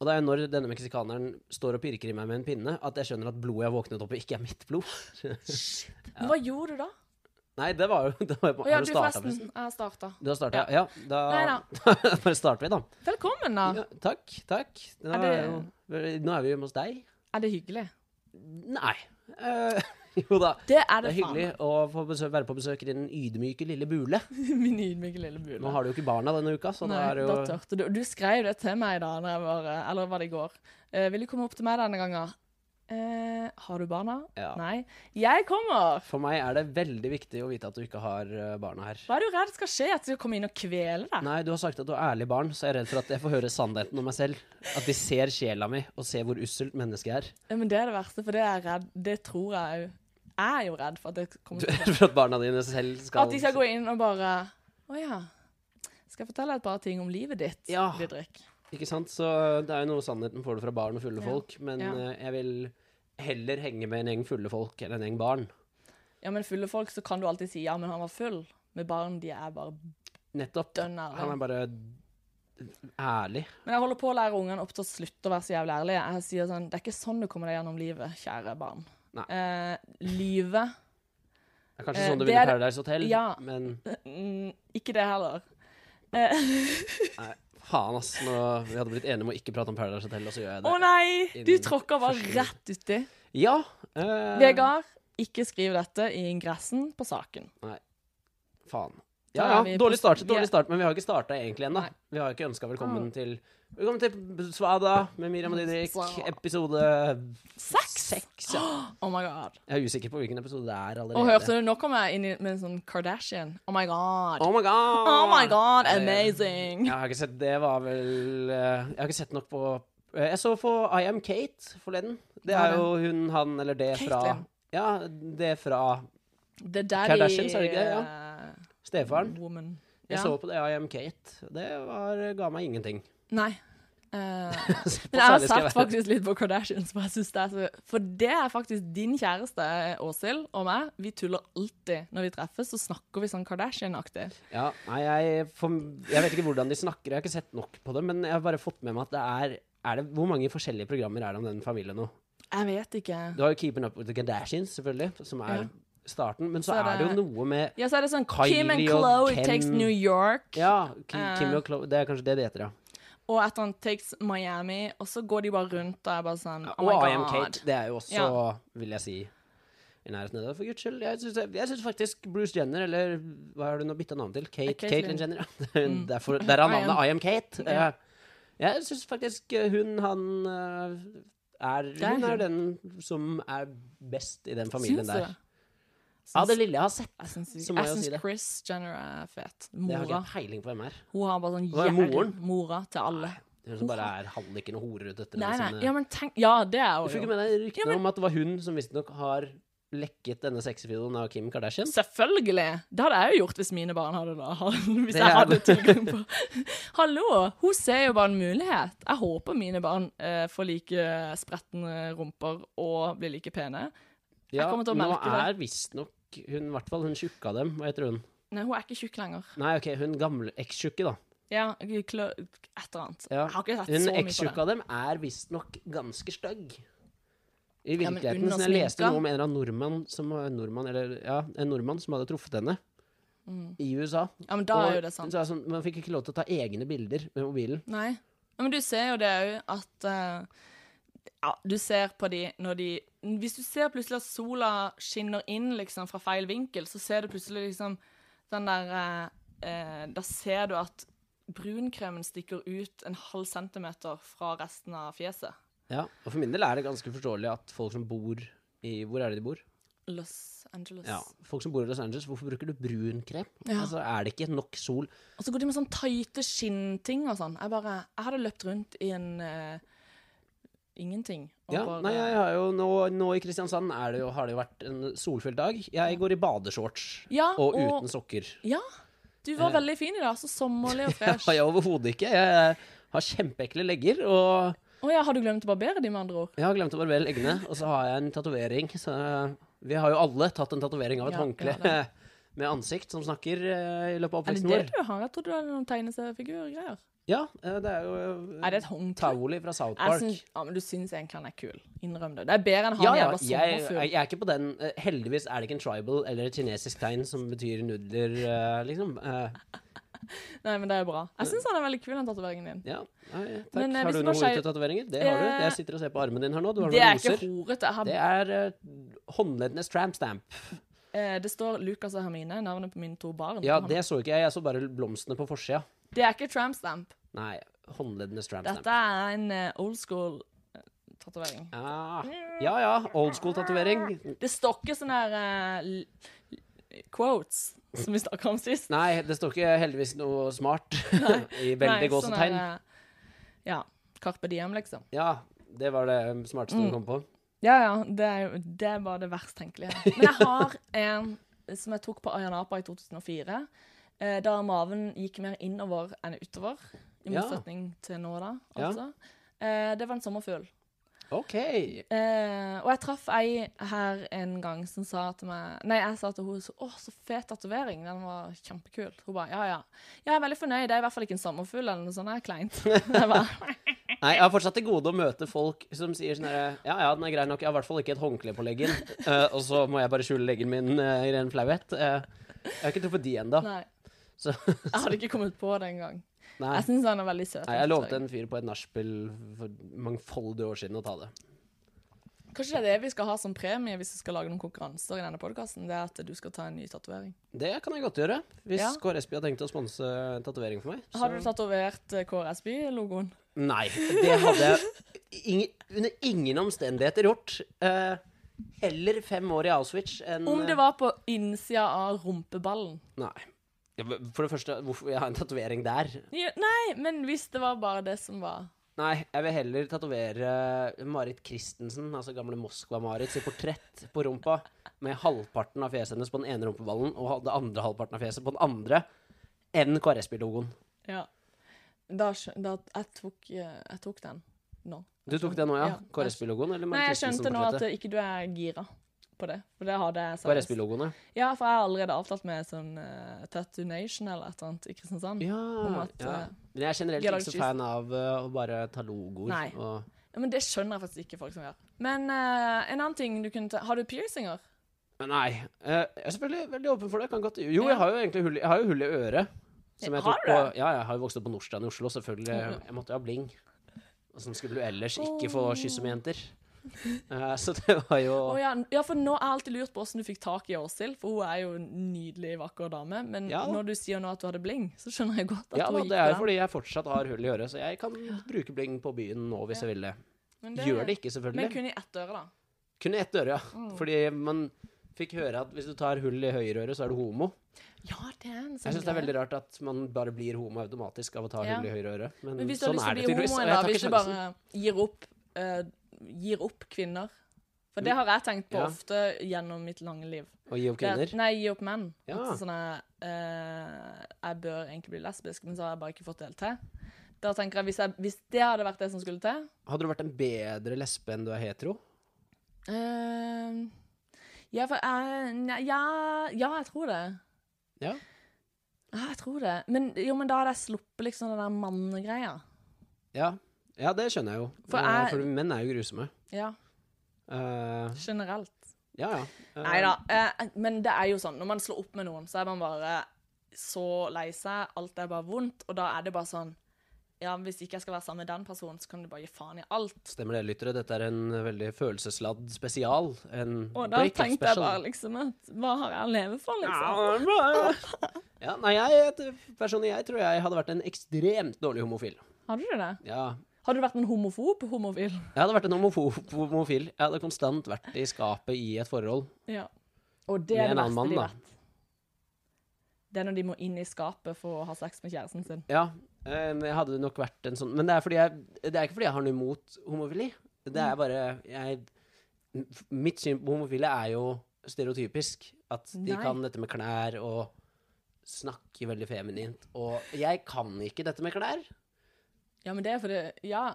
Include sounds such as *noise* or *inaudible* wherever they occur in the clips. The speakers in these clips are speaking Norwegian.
Og det er jo når denne meksikaneren står og pirker i meg med en pinne, at jeg skjønner at blodet jeg våknet opp i, ikke er mitt blod. *laughs* Men Hva gjorde du da? Nei, det var jo *laughs* det var, Å ja, Har du du starta, forresten. forresten? Jeg har starta. Du har starta? Ja. da, Neida. *laughs* bare starter vi, da. Velkommen, da. Ja, takk, takk. Nå Er er, det- jo, nå er vi hjemme hos deg. Er det hyggelig? Nei. Eh, *laughs* jo da. Det Det er det, er hyggelig å få besøk, være på besøk i den ydmyke lille bule. faen. *laughs* Min ydmyke lille bule. Nå har du jo ikke barna denne uka, så Nei, da er det da jo tørte du. Du skrev det til meg da, når jeg var, eller var det i går. Eh, vil du komme opp til meg denne gangen? Eh, har du barna? Ja. Nei. Jeg kommer! For meg er det veldig viktig å vite at du ikke har eh, barna her. Hva er du redd skal skje? At jeg skal komme inn og kvele deg? Nei, du har sagt at du er ærlig barn, så jeg er redd for at jeg får høre sannheten om meg selv. At de ser sjela mi, og ser hvor usselt mennesket er. *laughs* Ja, Men det er det verste, for det er jeg redd. Det tror jeg òg. Jeg er jo redd for at det kommer Du til er redd for at barna dine selv skal At de skal gå inn og bare Å ja. Skal jeg fortelle deg et par ting om livet ditt, Ja. Didrik? Ikke sant? Så eh, det er jo noe sannheten får du fra barn og fulle Ja. folk, men Ja. eh, jeg vil heller henge med en gjeng fulle folk enn en gjeng barn. Ja, men fulle folk, så kan du alltid si ja, men han var full. Med barn, de er bare Nettopp. dønn Han ærlige. er bare ærlig. Men jeg holder på å lære ungene opp til å slutte å være så jævlig ærlige. Jeg sier sånn, Det er ikke sånn du kommer deg gjennom livet, kjære barn. Nei. Eh, lyve Det er kanskje Eh, sånn du det vil i er- Paradise Hotel, Ja. men mm, Ikke det heller. Eh, nei, faen, ass. Nå, vi hadde blitt enige om å ikke prate om Paradise Hotel, og så gjør jeg Å det. nei! Du Innen tråkker bare første- rett uti. Ja. eh, Vegard, ikke skriv dette i ingressen på saken. Faen. Da Ja, er vi ja. på- Dårlig start, vi er- dårlig start, men vi har ikke starta egentlig ennå. Nei. Ah. Vi har ikke ønska velkommen til Velkommen til Svada med Miriam og Didrik, episode Sex! seks. Ja. Oh my god. Jeg er usikker på hvilken episode det er allerede. Og hørte du, nå kom jeg inn i- med en sånn Kardashian. Oh my god. Oh my god! Oh my god, Ja, det- amazing! Jeg har ikke sett Det var vel eh, Jeg har ikke sett nok på eh, Jeg så på I Am Kate forleden. Det Hva er er jo hun, han eller det fra Caitlyn. Ja, det fra The daddy Kardashians, er det ikke det? stefaren. eh, Woman. Jeg Ja. så på det I Am Kate. Det var, ga meg ingenting. *laughs* Nei. Eh, Men Men jeg har sett faktisk litt på Kardashians, for jeg synes det er så For det er faktisk din kjæreste, Åshild, og meg. Vi tuller alltid når vi treffes, så snakker vi sånn Kardashian-aktig. Ja, nei, jeg, for, jeg vet ikke hvordan de snakker, jeg har ikke sett nok på det, men jeg har bare fått med meg at det er, er det, Hvor mange forskjellige programmer er det om den familien nå? Jeg vet ikke. Du har jo Keeping Up With The Kardashians, selvfølgelig, som er Ja. starten, men så, Så er er det jo det- noe med Ja, så er det sånn Kylie Kim og and Chloe Ken. takes New York, Ja, Ki- Eh. Kimmy og Chloe, det er kanskje det det heter, ja. og et annet takes Miami, og så går de bare rundt og er bare sånn Oh Og my I Am god. Kate, det er jo også, Ja. vil jeg si, i nærheten av det. For guds skyld, jeg syns- jeg syns faktisk Bruce Jenner, eller hva har du nå bytta navn til? Kate, Caitlyn. Caitlyn Jenner, ja. *laughs* Det er hun- Derfor, der er Mm. I am- navnet I Am Kate. Ja. Eh, Jeg syns faktisk eh, hun, han eh, er er Hun hun. er den som er best i den familien Syns du der. det? Av det lille jeg har sett. Jeg syns, Så må jeg jeg jo syns si det. Chris Jenner er fet. Det har ikke Mora. jeg peiling på hvem er. Hun har bare sånn Hva er moren? Mora til alle. Hun som bare er halliken og horer ut etter Nei, nei. sine- Ja, men tenk Ja, det er Du hun fikk jo. med deg ryktene Ja, men- om at det var hun som visstnok har lekket denne sexvideoen av Kim Kardashian? Selvfølgelig! Det hadde jeg jo gjort hvis mine barn hadde da. Det Hvis jeg er- hadde tilgang på *laughs* Hallo! Hun ser jo bare en mulighet. Jeg håper mine barn eh, får like spretne rumper og blir like pene. Jeg kommer til å nå merke det. er visstnok hun, i hvert fall hun tjukka dem, hva heter hun? Nei, hun er ikke tjukk lenger. Nei, ok, hun gamle ekstjukke, da. Ja, klø... Et eller annet. Ja. Jeg har ikke sett Hun så mye på ekstjukke det. av dem er visstnok ganske stygg. I Ja, men virkeligheten. under så jeg leste sminka? noe om en eller annen nordmann som, nordmann, eller, ja, en nordmann som hadde truffet henne i USA. Ja, men Mm. da Og er jo det hun sant. sa sånn, man fikk ikke lov til å ta egne bilder med mobilen. Nei. Ja, men du ser jo det òg at eh, Ja, du ser på de når de Hvis du ser plutselig at sola skinner inn liksom fra feil vinkel, så ser du plutselig liksom den der eh, eh, Da ser du at brunkremen stikker ut en halv centimeter fra resten av fjeset. Ja, og for min del er det ganske forståelig at folk som bor i Hvor er det de bor? Los Angeles. Ja, Folk som bor i Los Angeles, hvorfor bruker du brunkrem? Ja. Altså, er det ikke nok sol? Og så går de med sånn tighte skinnting og sånn. Jeg bare Jeg hadde løpt rundt i en eh, ingenting. og Ja, bare- nei, jeg har jo nå, nå i Kristiansand er det jo, har det jo vært en solfylt dag. Jeg går i badeshorts Ja, og og- uten sokker. *laughs* Ja. Du var Eh. veldig fin i dag. Så sommerlig Jeg *laughs* og fresh. har jeg overhodet ikke. Jeg har kjempeekle legger, og Å ja, har du glemt å barbere de med andre ord? jeg har glemt å barbere leggene. Og så har jeg en tatovering. Så vi har jo alle tatt en tatovering av et Ja, håndkle ja, *laughs* med ansikt som snakker eh, i løpet av Er det oppveksten det vår. du har? Jeg trodde du hadde noen tegneseriefigurgreier. Ja, eh, det er jo Er eh, det et håndkle? Taoli fra South Jeg Park. syns- ja, men du syns egentlig han er kul. Innrøm det. Det er bedre enn han Ja, ja, jævla jeg, sommerfugl. jeg er ikke på den. Eh, Heldigvis er det ikke en tribal eller et kinesisk tegn som betyr nudler, eh, liksom. Eh, Nei, men det er bra. Jeg syns han er veldig kul, den tatoveringen din. Ja, nei, takk. Men, eh, har hvis du man noen skei- horete tatoveringer? Det har du. Eh, Jeg sitter og ser på armen din her nå. Du har Det er noen ikke roser. horete. Jeg har- Det er eh, håndleddenes tramp stamp. eh, Det står Lucas og Hermine, navnet på mine to barn. Ja, på ham. det så ikke jeg. Jeg så bare blomstene på forsida. det er ikke tramp stamp. Nei, håndleddenes tramp Dette stamp. er en eh, old school eh, tatovering. Ah, ja ja, old school-tatovering. Det står ikke sånne her, eh, l- quotes som vi snakka om sist. Nei, det står ikke heldigvis noe smart *laughs* i veldig Nei, sånn gåsetegn. her, eh, Ja. Carpe diem, liksom. Ja, det var det smarteste Mm. du kom på. Ja, ja. Det er, jo, det er bare det verst tenkelige. Men *laughs* jeg har en som jeg tok på Ayanapa i 2004. Eh, da maven gikk mer innover enn utover. I Ja. motsetning til nå, da. Ja. Altså. Eh, det var en sommerfugl. OK. Eh, og jeg traff ei her en gang som sa til meg Nei, jeg sa til henne så, 'Å, så fet tatovering. Den var kjempekul.' Hun bare 'Ja, ja'. 'Jeg er veldig fornøyd. Det er i hvert fall ikke en sommerfugl eller noe sånt. Det *laughs* er kleint.' Jeg bare, Nei, Jeg har fortsatt til gode å møte folk som sier sånn herre Ja ja, den er grei nok. Jeg har i hvert fall ikke et håndkle på leggen. Eh, og så må jeg bare skjule leggen min eh, i ren flauhet. Eh, jeg har ikke truffet de ennå. Nei. Så *laughs* Jeg hadde ikke kommet på det engang. nei. Jeg syns han er veldig søt. Nei, jeg den lovte tatueringen. en fyr på et nachspiel for mangfoldige år siden å ta det. Kanskje det er det vi skal ha som premie hvis vi skal lage noen konkurranser i denne podkasten, det er at du skal ta en ny tatovering. Det kan jeg godt gjøre, hvis Ja. KRSB har tenkt å sponse en tatovering for meg. så- Har du tatovert eh, KRSB-logoen? Nei, det hadde jeg ingen, under ingen omstendigheter gjort. Eh, heller fem år i Auschwitz enn eh, Om det var på innsida av rumpeballen? Nei. Ja, men For det første, hvorfor vil jeg ha en tatovering der? Ja, Nei, men hvis det var bare det som var Nei, jeg vil heller tatovere Marit Christensen, altså gamle Moskva-Marit, sitt portrett på rumpa med halvparten av fjeset hennes på den ene rumpeballen og den andre halvparten av fjeset på den andre, enn KRSB-logoen. Ja. Da, skjø- da jeg, tok, eh, jeg tok den nå. Du tok det nå, ja? Ja. KRSB-logoen eller Nei, Marit jeg skjønte nå at Christensen-portrettet? eh, ikke du er gira på det. For det hadde jeg seriøst. KRSB-logoen, ja. Ja, for jeg har allerede avtalt med sånn eh, Tattoo Nation eller et eller annet i Kristiansand. Ja, at, ja. eh, Men jeg er generelt de ikke har laget så kyss. fan av eh, å bare ta logoer. Nei. Og... Ja, Men det skjønner jeg faktisk ikke folk som gjør. Men eh, en annen ting du kunne ta Har du piercinger? Nei. eh, jeg er selvfølgelig veldig åpen for det. Kan godt... Jo, Ja. jeg har jo egentlig hull, i- jeg har jo hull i øret. Som jeg Har tok du på... det? Ja, jeg har jo vokst opp på Nordstrand i Oslo, selvfølgelig. Jeg måtte jo ha bling. Og som skulle du ellers ikke få kysse med jenter. Eh, så det var jo Å ja, n- ja, for nå har jeg alltid lurt på hvordan du fikk tak i Åshild, for hun er jo en nydelig, vakker dame. Men Ja. når du sier nå at du hadde bling, så skjønner jeg godt at Ja da, hun gikk det er jo for den. fordi jeg fortsatt har hull i øret, så jeg kan bruke bling på byen nå hvis jeg vil det. Men Gjør det ikke, selvfølgelig. Men kun i ett øre, da. Kun i ett øre, ja. Fordi man fikk høre at hvis du tar hull i høyreøret, så er du homo. Ja, det er en sånn Jeg syns det er greie. veldig rart at man bare blir homo automatisk av å ta Ja. hull i høyreøret. Men, Men hvis du sånn har er lyst det til å bli tydeligvis. homo Og en jeg dag, tar hvis ikke sånn. du sjansen. bare gir opp, eh, gir opp kvinner For det har jeg tenkt på Ja. ofte gjennom mitt lange liv. Å gi opp Det er- kvinner. Nei, gi opp menn. Ja. At sånn er, eh, jeg bør egentlig bli lesbisk, men så har jeg bare ikke fått det helt til. Da tenker jeg, hvis, jeg, hvis det hadde vært det som skulle til Hadde du vært en bedre lesbe enn du er hetero? eh, ja, for jeg, nei, ja, ja, jeg tror det. Ja. Ja, jeg tror det. Men, jo, men da hadde jeg sluppet liksom den der mannegreia. Ja, ja det skjønner jeg jo. Eh, For, For jeg- For menn er jo grusomme. Ja, Eh, generelt. ja, ja. Eh, Nei da. Eh, men det er jo sånn, når man slår opp med noen, så er man bare så lei seg. Alt er bare vondt. Og da er det bare sånn Ja, hvis ikke jeg skal være sammen med den personen, så kan du bare gi faen i alt. Stemmer det, lyttere. Dette er en veldig følelsesladd spesial. En Og da breakup tenkte jeg special. bare liksom at Hva har jeg å leve for, liksom? Ja, nei, jeg, personlig, jeg tror jeg hadde vært en ekstremt dårlig homofil. Hadde du det? Ja, Har du vært en homofob homofil? Jeg hadde vært en homofo- homofil. Jeg hadde konstant vært i skapet i et forhold. Ja. Og det er Med det en annen verste de mann, da. vet. Det er når de må inn i skapet for å ha sex med kjæresten sin. Ja, eh, men jeg hadde nok vært en sånn Men det er, fordi jeg, det er ikke fordi jeg har noe imot homofili. Det Mm. er bare jeg, Mitt syn på homofile er jo stereotypisk. At de Nei. kan dette med klær og snakke veldig feminint. Og jeg kan ikke dette med klær. Ja, men det er fordi Ja.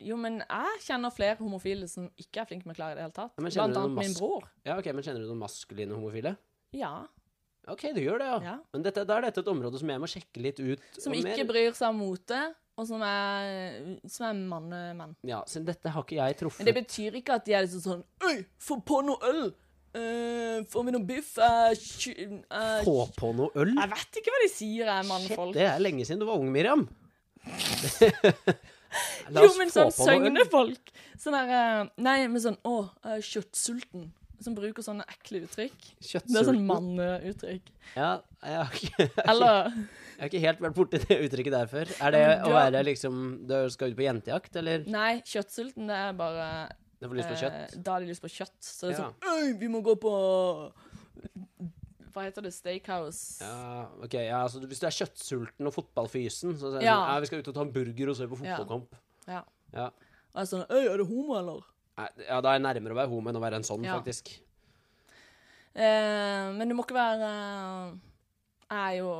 Jo, men jeg kjenner flere homofile som ikke er flinke med klær i det hele tatt. Ja, men kjenner Blant du noen annet min mas- bror. Ja, ok, Men kjenner du noen maskuline homofile? Ja. Ok, du gjør det, ja. Ja. Men dette, da er dette et område som jeg må sjekke litt ut. Som og ikke mer- bryr seg om mote, og som er, som er mannemenn. Ja, så dette har ikke jeg Men det truffet. betyr ikke at de er liksom sånn Øy, få på noe øl! Eh, får vi noe biff? Eh, kjø- eh, Få på noe øl? Jeg vet ikke hva de sier, jeg, Shit, mannfolk. det er lenge siden du var ung, *laughs* Miriam. La Jo, oss men få sånn på noe øl. søgnefolk. Sånn der eh, Nei, men sånn Å, jeg er kjøttsulten. Som bruker sånne ekle uttrykk. Det er Kjøttsulten. sånn manneuttrykk. Ja, jeg har, ikke, *laughs* Eller jeg har ikke helt vært borti det uttrykket der før. Er det Ja, men å du har- være liksom Du skal ut på jentejakt, eller? Nei, kjøttsulten, det er bare Du får lyst på kjøtt? eh, Da har de lyst på kjøtt. Så det er Ja. sånn Øy, vi må gå på Hva heter det? Steakhouse? Ja, ok, ja, altså Hvis du er kjøttsulten og fotballfysen, så sier du Ja. ja, vi skal ut og ta en burger og se på Ja. fotballkamp. Ja. Ja. Og jeg er sånn Øy, er du homo, eller? Nei, ja, da er jeg nærmere å være homo enn å være en sånn, Ja. faktisk. Eh, men du må ikke være Jeg er jo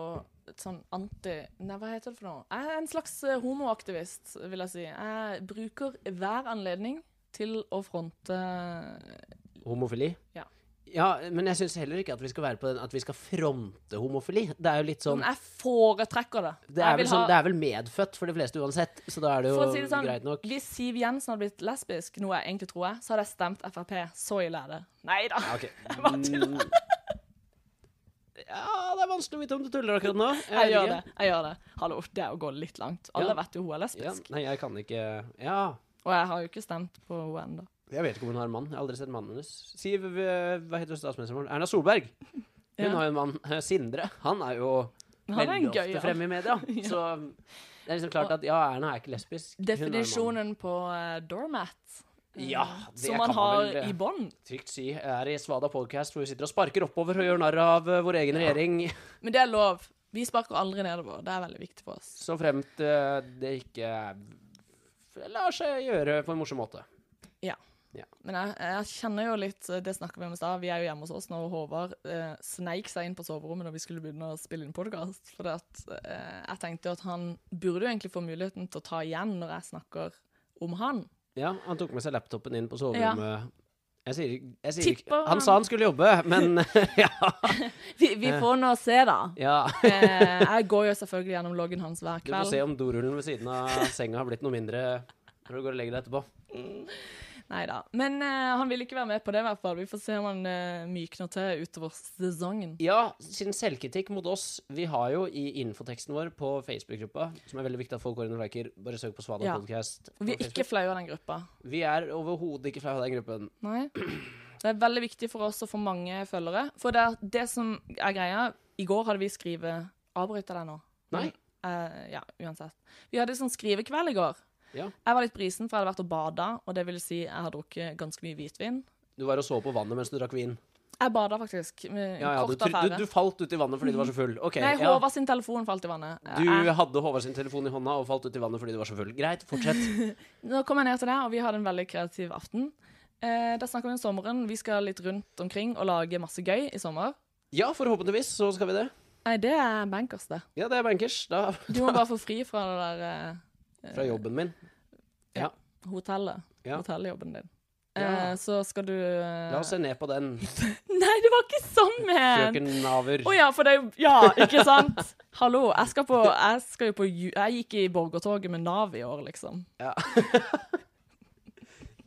et sånn anti... Nei, hva heter det for noe? Jeg er en slags eh, homoaktivist, vil jeg si. Jeg bruker hver anledning til å fronte eh, Homofili? Ja. Ja, men jeg syns heller ikke at vi skal være på den at vi skal fronte homofili. Det er jo litt sånn Men jeg foretrekker det. Det Jeg er, vel vil sånn, ha- det er vel medfødt for de fleste uansett, så da er det jo For å si det sånn, greit nok. hvis Siv Jensen hadde blitt lesbisk, noe jeg egentlig tror jeg, så hadde jeg stemt Frp. Så ille er det. Nei da. Ja, *laughs* ok. bare tuller. Mm. Ja, det er vanskelig å vite om du tuller akkurat nå. *laughs* Jeg vet gjør det. ikke. jeg gjør det. Hallo, det er å gå litt langt. Alle Ja. vet jo hun er Ja, lesbisk. nei, jeg kan ikke Ja. Og jeg har jo ikke stemt på henne ennå. Jeg vet ikke om hun har mann. Jeg har aldri sett mannen hennes. Siv eh, Hva heter statsministeren vår? Erna Solberg. Hun Ja. har jo en mann. Eh, Sindre. Han er jo Han er en veldig gøy, ofte fremme i media. *laughs* Ja. Så det er liksom klart at ja, Erna er ikke lesbisk. Hun er en mann. Definisjonen på eh, doormat, eh, Ja, det som man kan man har vel, eh, i bånn. Trygt si. Jeg er i Svada podcast hvor vi sitter og sparker oppover og gjør narr av eh, vår egen regjering. *laughs* Men det er lov. Vi sparker aldri nedover. Det er veldig viktig for oss. Så fremt eh, det ikke eh, lar seg gjøre på en morsom måte. Men jeg, jeg kjenner jo litt eh, Det snakket vi om i stad. Vi er jo hjemme hos oss når Håvard eh, sneik seg inn på soverommet når vi skulle begynne å spille inn podkast. For at, eh, jeg tenkte jo at han burde jo egentlig få muligheten til å ta igjen når jeg snakker om han. Ja, han tok med seg laptopen inn på soverommet. Jeg sier, ikke- jeg sier ikke Tipper Han sa han skulle jobbe, *laughs* men ja, Vi, vi får nå se, da. ja. Eh, jeg går jo selvfølgelig gjennom loggen hans hver Du får kveld. se om dorullen ved siden av senga har blitt noe mindre når du går og legger deg etterpå. Nei da. Men eh, han vil ikke være med på det, i hvert fall. Vi får se om han eh, mykner til utover sesongen. Ja, siden selvkritikk mot oss Vi har jo i infoteksten vår på Facebook-gruppa, som er veldig viktig at folk går inn og liker, bare søk på Svada Ja. podcast. på Vi er ikke Facebook. flaue av den gruppa. vi er overhodet ikke flaue av den gruppen. Nei. Det er veldig viktig for oss å få mange følgere. For det, er det som er greia I går hadde vi skrive Avbryter deg nå. Nei. Eh, ja, uansett. Vi hadde sånn skrivekveld i går. Ja. Jeg var litt brisen, for jeg hadde vært og bada, og det vil si jeg har drukket ganske mye hvitvin. Du var og så på vannet mens du drakk vin. Jeg bada faktisk. Med Ja, ja, du, kort tro- affære. Mm. du, du falt uti vannet fordi du var så full. Ok, Nei, ja. Håvard sin telefon falt i vannet. Eh, Jeg- Du hadde Håvard sin telefon i hånda og falt uti vannet fordi du var så full. Greit, fortsett. *laughs* Nå kom jeg ned til deg, og vi hadde en veldig kreativ aften. Eh, da snakker vi om sommeren. Vi skal litt rundt omkring og lage masse gøy i sommer. Ja, forhåpentligvis så skal vi det. Nei, det er bankers, det. Ja, det er bankers. Da Du *laughs* må bare få fri fra det der eh, fra jobben min. hotellet. Ja. Hotelljobben din. Ja. Eh, så skal du eh... La oss se ned på den, *laughs* Nei, det var ikke sånn ment! frøken Naver. Å ja, for det er jo Ja, ikke sant? *laughs* Hallo, jeg skal på Jeg, skal jo på, ju- jeg gikk i borgertoget med Nav i år, liksom.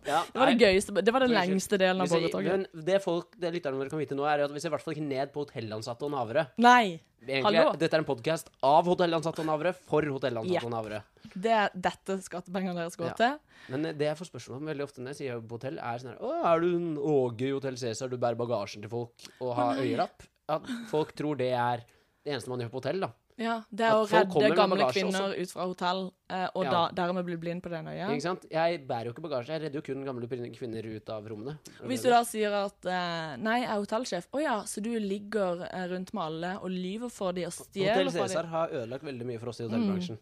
Ja, Det var nei. det gøyeste Det var den Unnskyld. lengste delen av Hvis jeg, borgertoget. men det folk, det lytterne våre kan vite nå, er jo at vi ser i hvert fall ikke ned på hotellansatte og navere. Nei! Egentlig, Hallo. er- dette er en podkast av hotellansatte og navere for hotellansatte Ja. og navere. Det er dette skattepengene deres går Ja. til. Men eh, det jeg får spørsmål om veldig ofte når jeg sier på hotell, er sånn her Å, er du en Åge i Hotell Cæsar? Du bærer bagasjen til folk og har øyelapp? At folk tror det er det eneste man gjør på hotell, da. Ja, det er At å folk kommer med redde gamle bagasje kvinner ut fra hotell, eh, og Ja. da, dermed bli blind på det ene Ikke øyet. sant? Jeg bærer jo ikke bagasje, jeg redder jo kun gamle prin- kvinner ut av rommene. Hvis du da sier at eh, 'nei, jeg er hotellsjef', å ja, så du ligger eh, rundt med alle og lyver for de og Hotell stjeler fra de. Mm. Cæsar har ødelagt veldig mye for oss i hotellbransjen.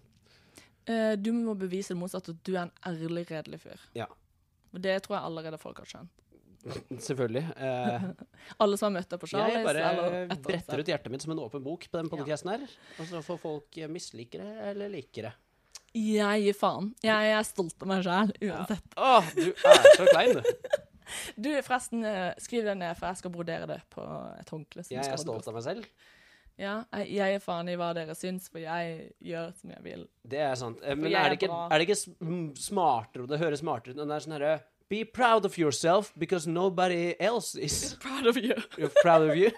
Eh, du må bevise det motsatte, at du er en ærlig, redelig fyr. Ja. Og det tror jeg allerede folk har skjønt. Selvfølgelig. *laughs* Eh, Alle som har møtt deg på Charlies. jeg bare eller *laughs* et eller bretter annet ut hjertet mitt som en åpen bok på den podcasten her. Og så får folk eh, mislike det eller like det. sted. Jeg gir faen. Jeg er stolt av meg sjæl, uansett. Å, du er så klein, du. Du, forresten, eh, skriv det ned, for jeg skal brodere det på et håndkle. som Jeg skal er på stolt av meg selv. Ja, jeg, jeg er faen i hva dere syns, for jeg gjør som jeg vil. Det er sant. Eh, Men jeg er er det ikke, bra. er det ikke s- mm, smartere, og det høres smartere ut, enn det er sånn herre Be proud of yourself because nobody else is *laughs* Proud of you. proud of you.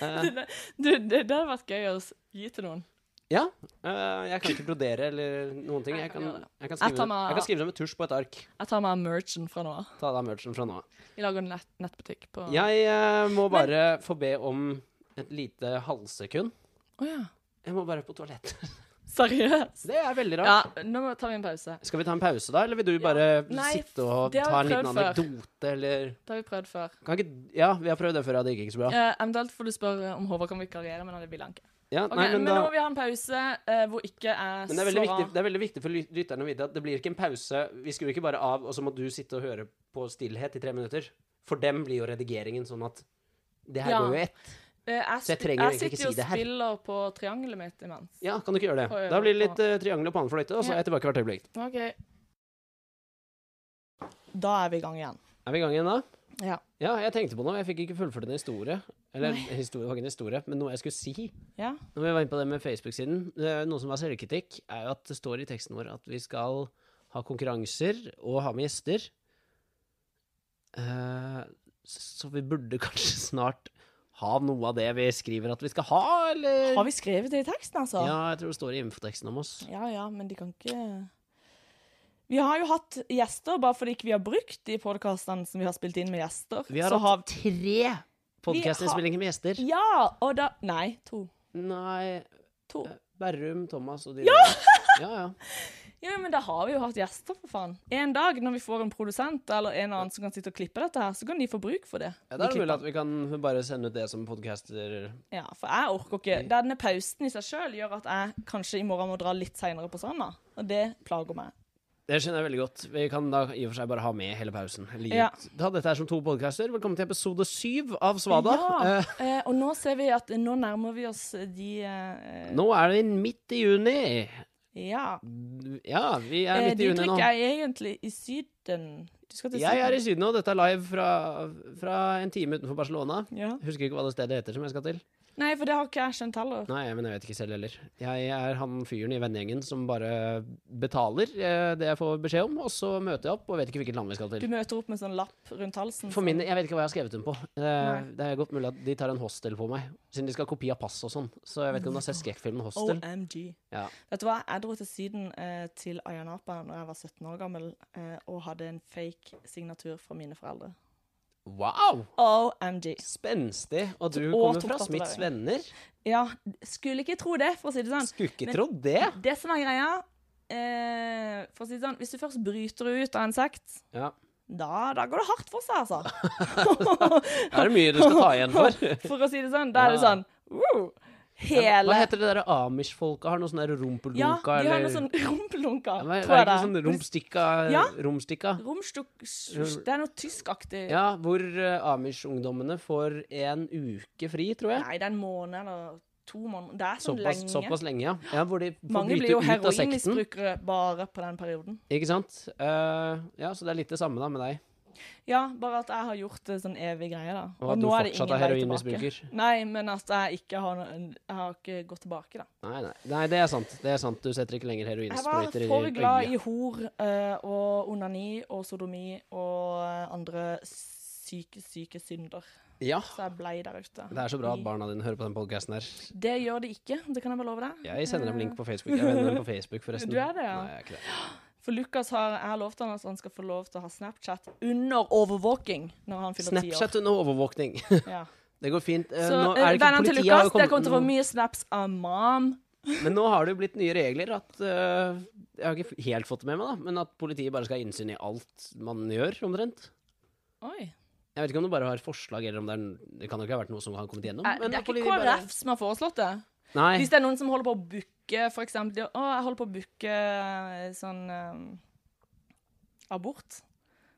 Eh, Du, *laughs* det det hadde vært gøy å s- gi til noen. ja. eh, jeg kan ikke brodere eller noen ting. Jeg kan, jeg kan, Jeg tar skrive, meg- jeg kan skrive det med tusj på et ark. Jeg tar meg merchen fra nå av. Ta deg av merchen fra nå av. Vi lager en nett, nettbutikk på Å Jeg eh, må bare få be om et lite halvsekund. ja. Jeg må bare på toalettet. *laughs* Seriøst? Det er veldig rart. Ja, nå må- tar vi en pause. Skal vi ta en pause, da? Eller vil du bare Nei, sitte og det har ta en vi liten prøvd før. anekdote, eller Det har vi prøvd før. kan ikke, Ja, vi har prøvd det før, ja. Det gikk ikke så bra. Eh, eventuelt får du spørre om Håvard kan vikariere, men det vil han ikke. Ja, Ok, nei, men, men, da, nå må vi ha en pause eh, hvor ikke men jeg det, er veldig slår viktig, av. det er veldig viktig for ly- lytterne å vite at det blir ikke en pause. Vi skrur ikke bare av, og så må du sitte og høre på stillhet i tre minutter. For dem blir jo redigeringen sånn at det her Ja. går jo i ett. Eh, jeg, Så jeg sp- trenger jeg egentlig ikke sitter jo si det og her. spiller på triangelet mitt imens. Ja, kan du ikke gjøre det? Oi, Da blir det oi, litt uh, triangel og panefløyte, og så Ja. er jeg tilbake hvert øyeblikk. Ok. Da er vi i gang igjen. Er vi i gang igjen da? Ja. Ja, jeg tenkte på noe. Jeg fikk ikke fullført en historie. Eller Nei. historie, det var ikke en historie, men noe jeg skulle si. Ja. Når vi var inne på det med Facebook-siden, eh, noe som er selvkritikk, er jo at det står i teksten vår at vi skal ha konkurranser og ha med gjester. Eh, Så vi burde *laughs* kanskje snart ha noe av det vi skriver at vi skal ha, eller? Har vi skrevet det i teksten, altså? Ja, jeg tror det står i infoteksten om oss. ja, ja, men de kan ikke Vi har jo hatt gjester bare fordi ikke vi har brukt de podkastene som vi har spilt inn med gjester. Vi har så hatt tre podcastinnspillinger med gjester. Ja! Og da Nei, to. Nei, To. Berrum, Thomas og de Ja! Ja, ja. Ja, men da har vi jo hatt gjester, for faen. En dag, når vi får en produsent eller en annen som kan sitte og klippe dette her, så kan de få bruk for det. Ja, Da er *laughs* De det mulig klipper. at vi kan bare sende ut det som podcaster Ja, for jeg orker ikke. Denne pausen i seg sjøl gjør at jeg kanskje i morgen må dra litt seinere på stranda, og det plager meg. Det skjønner jeg veldig godt. Vi kan da i og for seg bare ha med hele pausen. Litt. Ja. Da, dette er som to podcaster. Velkommen til episode syv av Svada. Ja, Eh, eh, og nå ser vi at nå nærmer vi oss de eh, nå er det midt i juni. Ja. Ja, vi er Eh, midt i de juni nå. trykker jeg egentlig i Syden. Du skal til Jeg er Syden? i Syden nå. Dette er live fra, fra en time utenfor Barcelona. Ja. Husker ikke hva det stedet heter som jeg skal til. Nei, for det har ikke jeg skjønt heller. Nei, men jeg vet ikke selv heller. Jeg er han fyren i vennegjengen som bare betaler eh, det jeg får beskjed om, og så møter jeg opp og vet ikke hvilket land vi skal til. Du møter opp med sånn lapp rundt halsen. For sånn. min, Jeg vet ikke hva jeg har skrevet dem på. Eh, Nei. det er godt mulig at de tar en hostel på meg, siden de skal ha kopi av pass og sånn. Så jeg vet ikke om du har sett skrekkfilmen sånn Hostel? OMG. Ja. Vet du hva, jeg dro til Syden eh, til Ayanapa når jeg var 17 år gammel, eh, og hadde en fake signatur fra mine foreldre. Wow! OMG. Spenstig. Og du Og kommer tok fra Smiths venner. Ja, skulle ikke tro det, for å si det sånn. Skulle ikke Men- trodd det. Det som er greia, eh, for å si det sånn, hvis du først bryter ut av en sekt, Ja. da, da går det hardt for seg, altså. Er det mye du skal ta igjen *laughs* for? for å si det sånn, da er det sånn, woo, Hva hele... heter det derre Amish-folka? Har noe sånn der rumpelunka Ja, de har eller noe sånn *laughs* rumpelunka, ja, men, Er tror det jeg det. ikke sånn romstikka? Ja. romstikka? Romstuk... Det er noe tyskaktig. Ja, hvor eh, Amish-ungdommene får en uke fri, tror jeg. Nei, det er en måned eller to måneder. Det er sånn Såpass, lenge. såpass lenge, ja. ja. Hvor de får Mange blir bryte jo ut av sekten. heroinmisbrukere bare på den perioden. Ikke sant? Eh, ja, så det er litt det samme da med deg. Ja, bare at jeg har gjort det sånn evig greie, da. Og at du fortsatt er heroinmisbruker. Nei, men at jeg ikke har noe Jeg har ikke gått tilbake, da. Nei, nei, nei, det er sant. Det er sant. Du setter ikke lenger Jeg var heroinsprøyter i for glad øyet. i hor eh, og onani og sodomi og eh, andre syke, syke synder. Ja. Så jeg blei der ute. Det er så bra at barna dine hører på den podcasten her. Det gjør det ikke, det kan jeg bare love deg. Jeg sender dem link på Facebook. Jeg vender dem på Facebook, forresten. Eh. Du er det, ja. Nei, jeg er ikke det. For Lukas har, jeg har lovt han at han skal få lov til å ha Snapchat under overvåking når han fyller ti år. Snapchat under overvåkning. Ja. Det går fint. *laughs* Eh, Så nå eh, er det ikke vennene til politiet Lukas, har dere kommer til å få kommet mye snaps av mam. Men nå har det jo blitt nye regler at eh, Jeg har ikke helt fått det med meg, da, men at politiet bare skal ha innsyn i alt man gjør, omtrent. Oi. Jeg vet ikke om det bare har forslag, eller om det er Det kan jo ikke ha vært noe som har kommet igjennom. Eh, men Det er ikke politiet KrF bare- som har foreslått det. Nei. Hvis det er noen som holder på å booke, for eksempel de, Å, jeg holder på å booke eh, sånn eh, abort.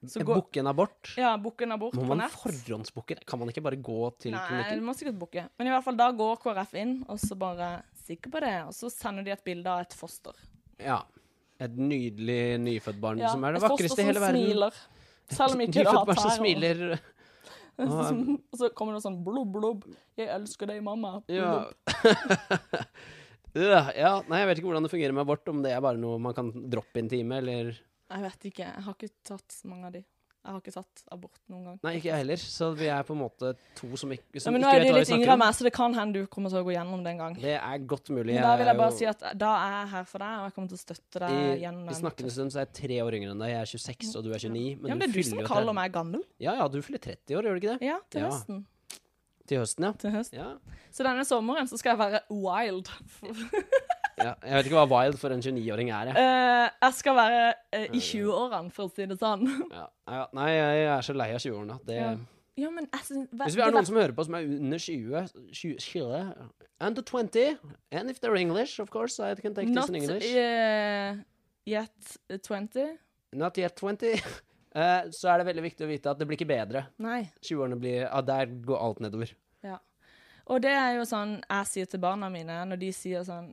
Så Eh, gå- Booke en abort? Ja, booke en abort Må på man nett. forhåndsbooke? det? Kan man ikke bare gå til Nei, du klinikken? må sikkert booke. Men i hvert fall da går KrF inn, og så bare Sikker på det. Og så sender de et bilde av et foster. Ja. Et nydelig nyfødt barn Ja, som er det et foster vakreste i hele som verden. *laughs* Smiler. Selv om ikke det Nyfødt har *laughs* barn som tær. og- smiler. Sånn, og så kommer det sånn blubb, blubb. 'Jeg elsker deg, mamma'. Ja. *laughs* Blubb. ja, ja. Nei, jeg vet ikke hvordan det fungerer med abort, om det er bare noe man kan droppe i en time, eller Jeg vet ikke. Jeg har ikke tatt mange av de. Jeg har ikke tatt abort noen gang. Nei, ikke jeg heller, så vi er på en måte to som ikke, Ja, som men nå ikke er vet de hva vi litt yngre snakker enn om. meg, så det kan hende du kommer til å gå gjennom det en gang. Det er godt mulig. Men da vil jeg er bare jo- si at da er jeg her for deg, og jeg kommer til å støtte deg I, liksom gjennom I snakkende stund så er jeg tre år yngre enn deg. Jeg er 26, og du er 29. Men, ja, du men det er du fyller som jo kaller 30. meg gammel. Ja, ja, du fyller 30 år, gjør du ikke det? Ja, til Ja. høsten. Til høsten, ja. Til høsten. ja. Så denne sommeren så skal jeg være *laughs* wild. ja. Jeg vet ikke hva wild for en 29-åring er, jeg. Eh, jeg skal være eh, i 20-årene, for å si det sånn. Ja. Ja. Nei, jeg er så lei av 20-årene. Det... Ja. Ja, men jeg syns Hvis vi har noen som hører på som er under 20, 20, 20 Under 20 And if they're English, of course, I can take this Not in English. eh, yet 20. Not yet 20. *laughs* Eh, så er det veldig viktig å vite at det blir ikke bedre. Nei. 20-årene blir ja, Der går alt nedover. Ja. Og det er jo sånn jeg sier til barna mine når de sier sånn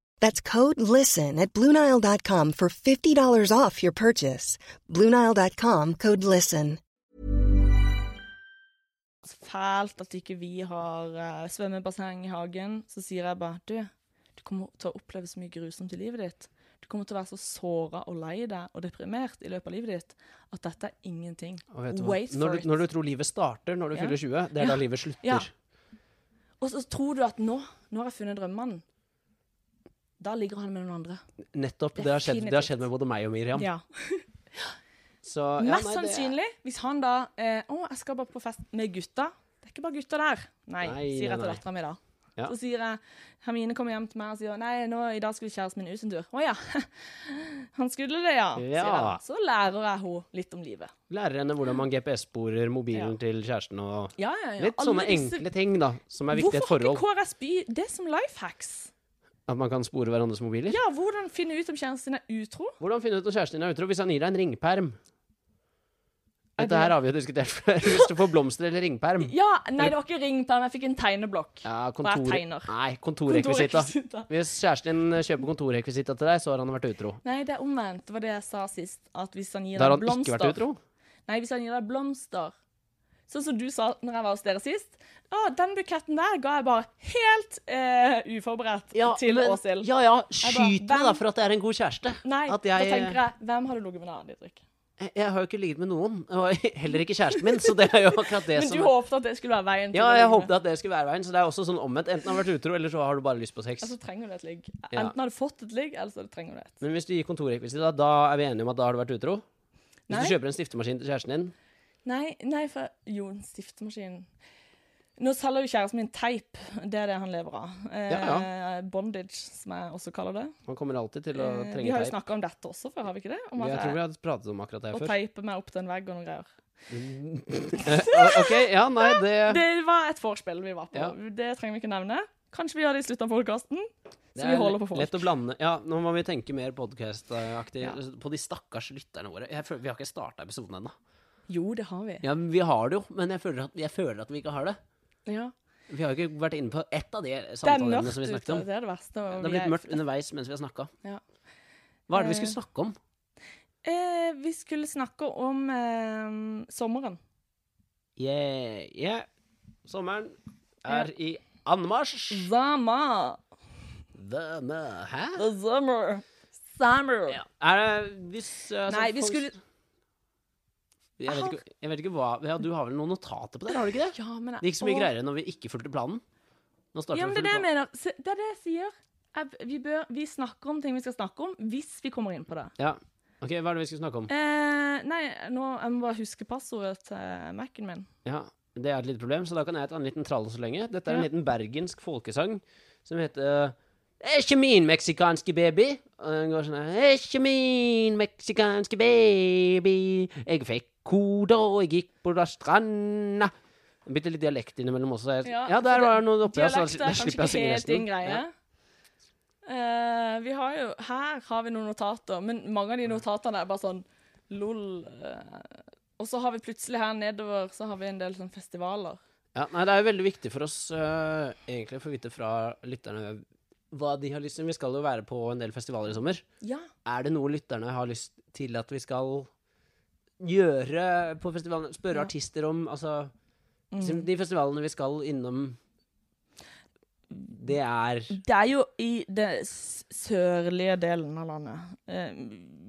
That's code LISTEN at Bluenile.com for $50 off your purchase. Bluenile.com code LISTEN. fælt at ikke vi har eh, svømmebasseng i hagen', så sier jeg bare 'Du, du kommer til å oppleve så mye grusomt i livet ditt'. Du kommer til å være så såra og lei deg og deprimert i løpet av livet ditt at dette er ingenting. Og vet du hva? Wait for når, it. du, når du tror livet starter når du Ja. fyller 20, det er da livet slutter. Ja. Og så tror du at nå, nå har jeg funnet drømmemannen. Da ligger han med noen andre. Nettopp. Det har, skjedd, det har Definitivt. skjedd med både meg og Miriam. Ja. Så, ja, Mest nei, det- sannsynlig, hvis han da eh, 'Å, jeg skal bare på fest med gutta.' Det er ikke bare gutter der. Nei, Nei, sier jeg nei, til nei. dattera mi da. Ja. Så sier jeg Hermine kommer hjem til meg og sier 'Nei, nå, i dag skulle kjæresten min ut en tur'. 'Å ja. *laughs* Han skulle det, ja', sier jeg. Ja. da. Så lærer jeg henne litt om livet. Lærer henne hvordan man GPS-sporer mobilen Ja. til kjæresten og Ja, ja, ja. Litt Alle sånne disse- enkle ting, da, som er viktig i et Hvorfor har forhold. ikke KRS By det som life hacks? At man kan spore hverandres mobiler. Ja, hvordan finne ut om kjæresten din er utro? Hvordan finne ut om kjæresten din er utro hvis han gir deg en ringperm? Er Dette det- her har vi jo diskutert *laughs* før. Hvis du får blomster eller ringperm. Ja, nei, det var ikke ringperm. Jeg fikk en tegneblokk. Ja, Og kontor... jeg tegner. Nei, kontorrekvisita. Kontorrekvisita. Hvis kjæresten din kjøper kontorrekvisita til deg, så har han vært utro. Nei, det er omvendt. Det var det jeg sa sist. At hvis han gir Da har deg han ikke blomster vært utro. Nei, hvis han gir deg blomster Sånn som du sa når jeg var hos dere sist. Å, den buketten der ga jeg bare helt eh, uforberedt til Åshild. ja, ja, Jeg skyt bare, meg da for at jeg er en god kjæreste. Nei, at da jeg, eh, tenker jeg Hvem har du ligget med da, Didrik? jeg, jeg har jo ikke ligget med noen, og *laughs* heller ikke kjæresten min, så det er jo akkurat det Men du som er- håpet at det skulle være veien Ja, jeg å ligge med. håpet at det skulle være veien, så det er også sånn omvendt. Enten har du vært utro, eller så har du bare lyst på sex. Ja, så Altså, trenger du et ligg. Ja. Enten har du fått et ligg, eller så trenger du et. Men hvis du gir kontorrekvisita, da er vi enige om at da har du vært utro? Hvis Nei. du kjøper en stiftemaskin til kjæresten din Nei, nei, for Jo, en stiftemaskin Nå selger jo kjæresten min teip. Det er det han lever av. Eh, Ja, Bondage, som jeg også kaller det. Man kommer alltid til å Eh, vi trenge har jo teip. snakka om dette også før, har vi ikke det? Om at Jeg tror jeg- vi har pratet om akkurat det her og før. teipe meg opp til en vegg og noen greier. *laughs* Eh, OK, ja, nei, det *laughs* Det var et vorspiel vi var på. Ja. Det trenger vi ikke nevne. Kanskje vi gjør det i slutten av podkasten. det Så vi er holder på folk. Lett å blande. Ja, nå må vi tenke mer podkastaktig Ja. på de stakkars lytterne våre. Jeg føler, vi har ikke starta episoden ennå. Jo, det har vi. Ja, men vi har det jo, men jeg føler, at, jeg føler at vi ikke har det. Ja. Vi har jo ikke vært inne på ett av de Det er samtaleemnene mørkt som vi snakket ute. om. Det er det verste. og Det har vi blitt er- mørkt underveis mens vi har snakka. Ja. Hva er det vi Eh. skulle snakke om? Eh, vi skulle snakke om eh, sommeren. Yeah, yeah. Sommeren er i anmarsj. Zama. The mø- Hæ? The summer. Summer. Ja. Er det hvis altså, Nei, vi folk- skulle jeg vet, ikke, jeg vet ikke hva ja, Du har vel noen notater på det? Har du ikke det? Ja, men jeg- Det gikk så mye Åh. greiere når vi ikke fulgte planen. Nå starter Ja, men vi det å er det jeg følge mener. Se, Det er det jeg sier. Jeg, vi, bør, vi snakker om ting vi skal snakke om, hvis vi kommer inn på det. planen. Ja. Ok, Hva er det vi skulle snakke om? Eh, nei, nå, jeg må bare huske passordet til Mac-en min. Ja, Det er et lite problem, så da kan jeg ta en liten tralle så lenge. Dette er en Ja. liten bergensk folkesang som heter Det er ikke min meksikanske baby. Og den går sånn her. Det er ikke min meksikanske baby. Jeg fikk kode, og jeg gikk på da stranda. Bitte litt dialekt innimellom også. Jeg, ja, Ja, der så det- var det noe oppi. ja, Så Dialekt er da kanskje slipper jeg å ikke synge helt din resten. greie. Ja. Eh, vi har jo, her har vi noen notater, men mange av de notatene er bare sånn lol. eh. og så har vi plutselig her nedover så har vi en del sånn festivaler. Ja, nei, det er jo veldig viktig for oss øh, egentlig å få vite fra lytterne hva de har lyst til. Vi skal jo være på en del festivaler i sommer. Ja, Er det noe lytterne har lyst til at vi skal gjøre på festivalen? Spørre Ja. Mm. artister om altså, De festivalene vi skal innom, det er Det er jo i den s- sørlige delen av landet. Eh,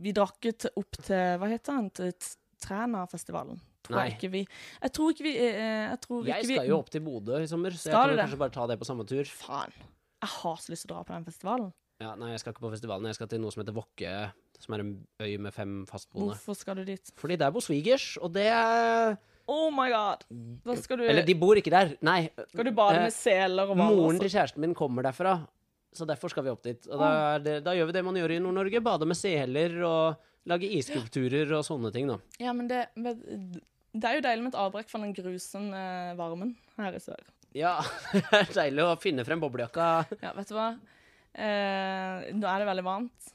vi drakk jo til- opp til Hva heter den? Til T- Trænafestivalen. Tror Nei. jeg ikke vi Jeg tror ikke vi eh, Jeg tror Jeg ikke vi skal jo opp til Bodø i sommer, så jeg Skal kan du vel det? kanskje bare ta det på samme tur. Faen. Jeg har så lyst til å dra på den festivalen. Ja, nei, jeg skal ikke på festivalen. Jeg skal til noe som heter Vokke, som er en øy med fem fastboende. Hvorfor skal du dit? Fordi der bor svigers, og det er Oh my god! Da skal du, Eller de bor ikke der. Nei. skal du bade eh, med seler og hvaler. Moren altså. til kjæresten min kommer derfra, så derfor skal vi opp dit. Og da, er det, da gjør vi det man gjør i Nord-Norge. Bade med seler og lage isskulpturer og sånne ting, da. Ja, men det, men det er jo deilig med et avbrekk fra den grusomme eh, varmen her i sør. Ja, *laughs* det er deilig å finne frem boblejakka. Ja, vet du hva? Eh, nå er det veldig varmt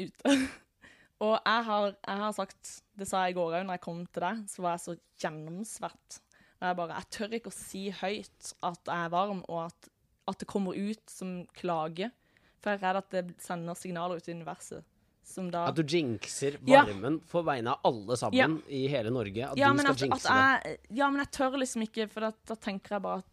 ute. *laughs* Og jeg har, jeg har sagt, det sa jeg i går òg når jeg kom til deg, så var jeg så gjennomsvett. Og jeg bare, jeg tør ikke å si høyt at jeg er varm, og at, at det kommer ut som klage. For jeg er redd at det sender signaler ut i universet. Som da At du jinxer Ja. varmen på vegne av alle sammen Ja. i hele Norge. At ja, du skal men at, at jinxe det. jeg, ja, men jeg tør liksom ikke, for da, da tenker jeg bare at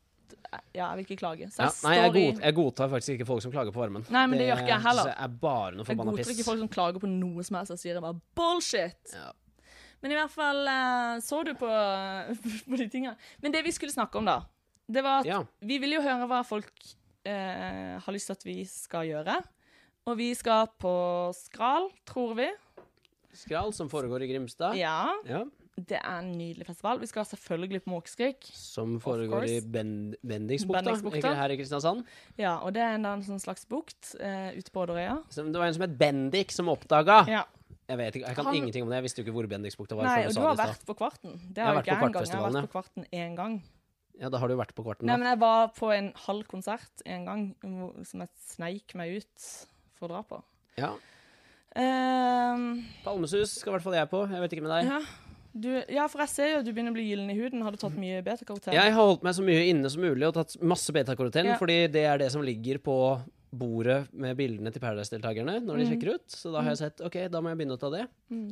Ja, jeg vil ikke klage. Så Ja, jeg nei, jeg, står i god, jeg godtar faktisk ikke folk som klager på varmen. Nei, men det gjør ikke jeg heller. synes jeg er bare noe Jeg forbanna godtar ikke piss. folk som klager på noe som helst. Jeg sier jeg bare bullshit! Ja. Men i hvert fall eh, så du på, *laughs* på de tinga. Men det vi skulle snakke om, da, det var at Ja. vi vil jo høre hva folk eh, har lyst til at vi skal gjøre. Og vi skal på Skral, tror vi. Skral, som foregår i Grimstad. Ja. Ja. Det er en nydelig festival. Vi skal selvfølgelig på Måkeskrik. Som foregår i course. ben Bendiksbukta, Bendiksbukta. ikke her i Kristiansand. Ja, og det er en, da en sånn slags bukt eh, ute på Odderøya. Som, det var en som het Bendik, som oppdaga Ja. Jeg vet ikke, jeg kan Han- ingenting om det. Jeg visste jo ikke hvor Bendiksbukta var. Nei, før og sa du har det i stad. vært på Kvarten. Det har har jo vært på ikke jeg engang. Kvartfestivalen, Jeg har ja. vært på Kvarten én gang. Ja, da har du vært på kvarten Nei, nå. men jeg var på en halv konsert en gang hvor- som jeg sneik meg ut for å dra på. Ja. Ehm, Palmesus skal i hvert fall jeg på. Jeg vet ikke med deg. ja. Du, ja, for jeg ser jo at du begynner å bli gyllen i huden. Har du tatt mye beta-karoten? Jeg har holdt meg så mye inne som mulig og tatt masse betakaroten, Ja. fordi det er det som ligger på bordet med bildene til Paradise-deltakerne når de Mhm. sjekker ut. Så da har jeg sett OK, da må jeg begynne å ta det.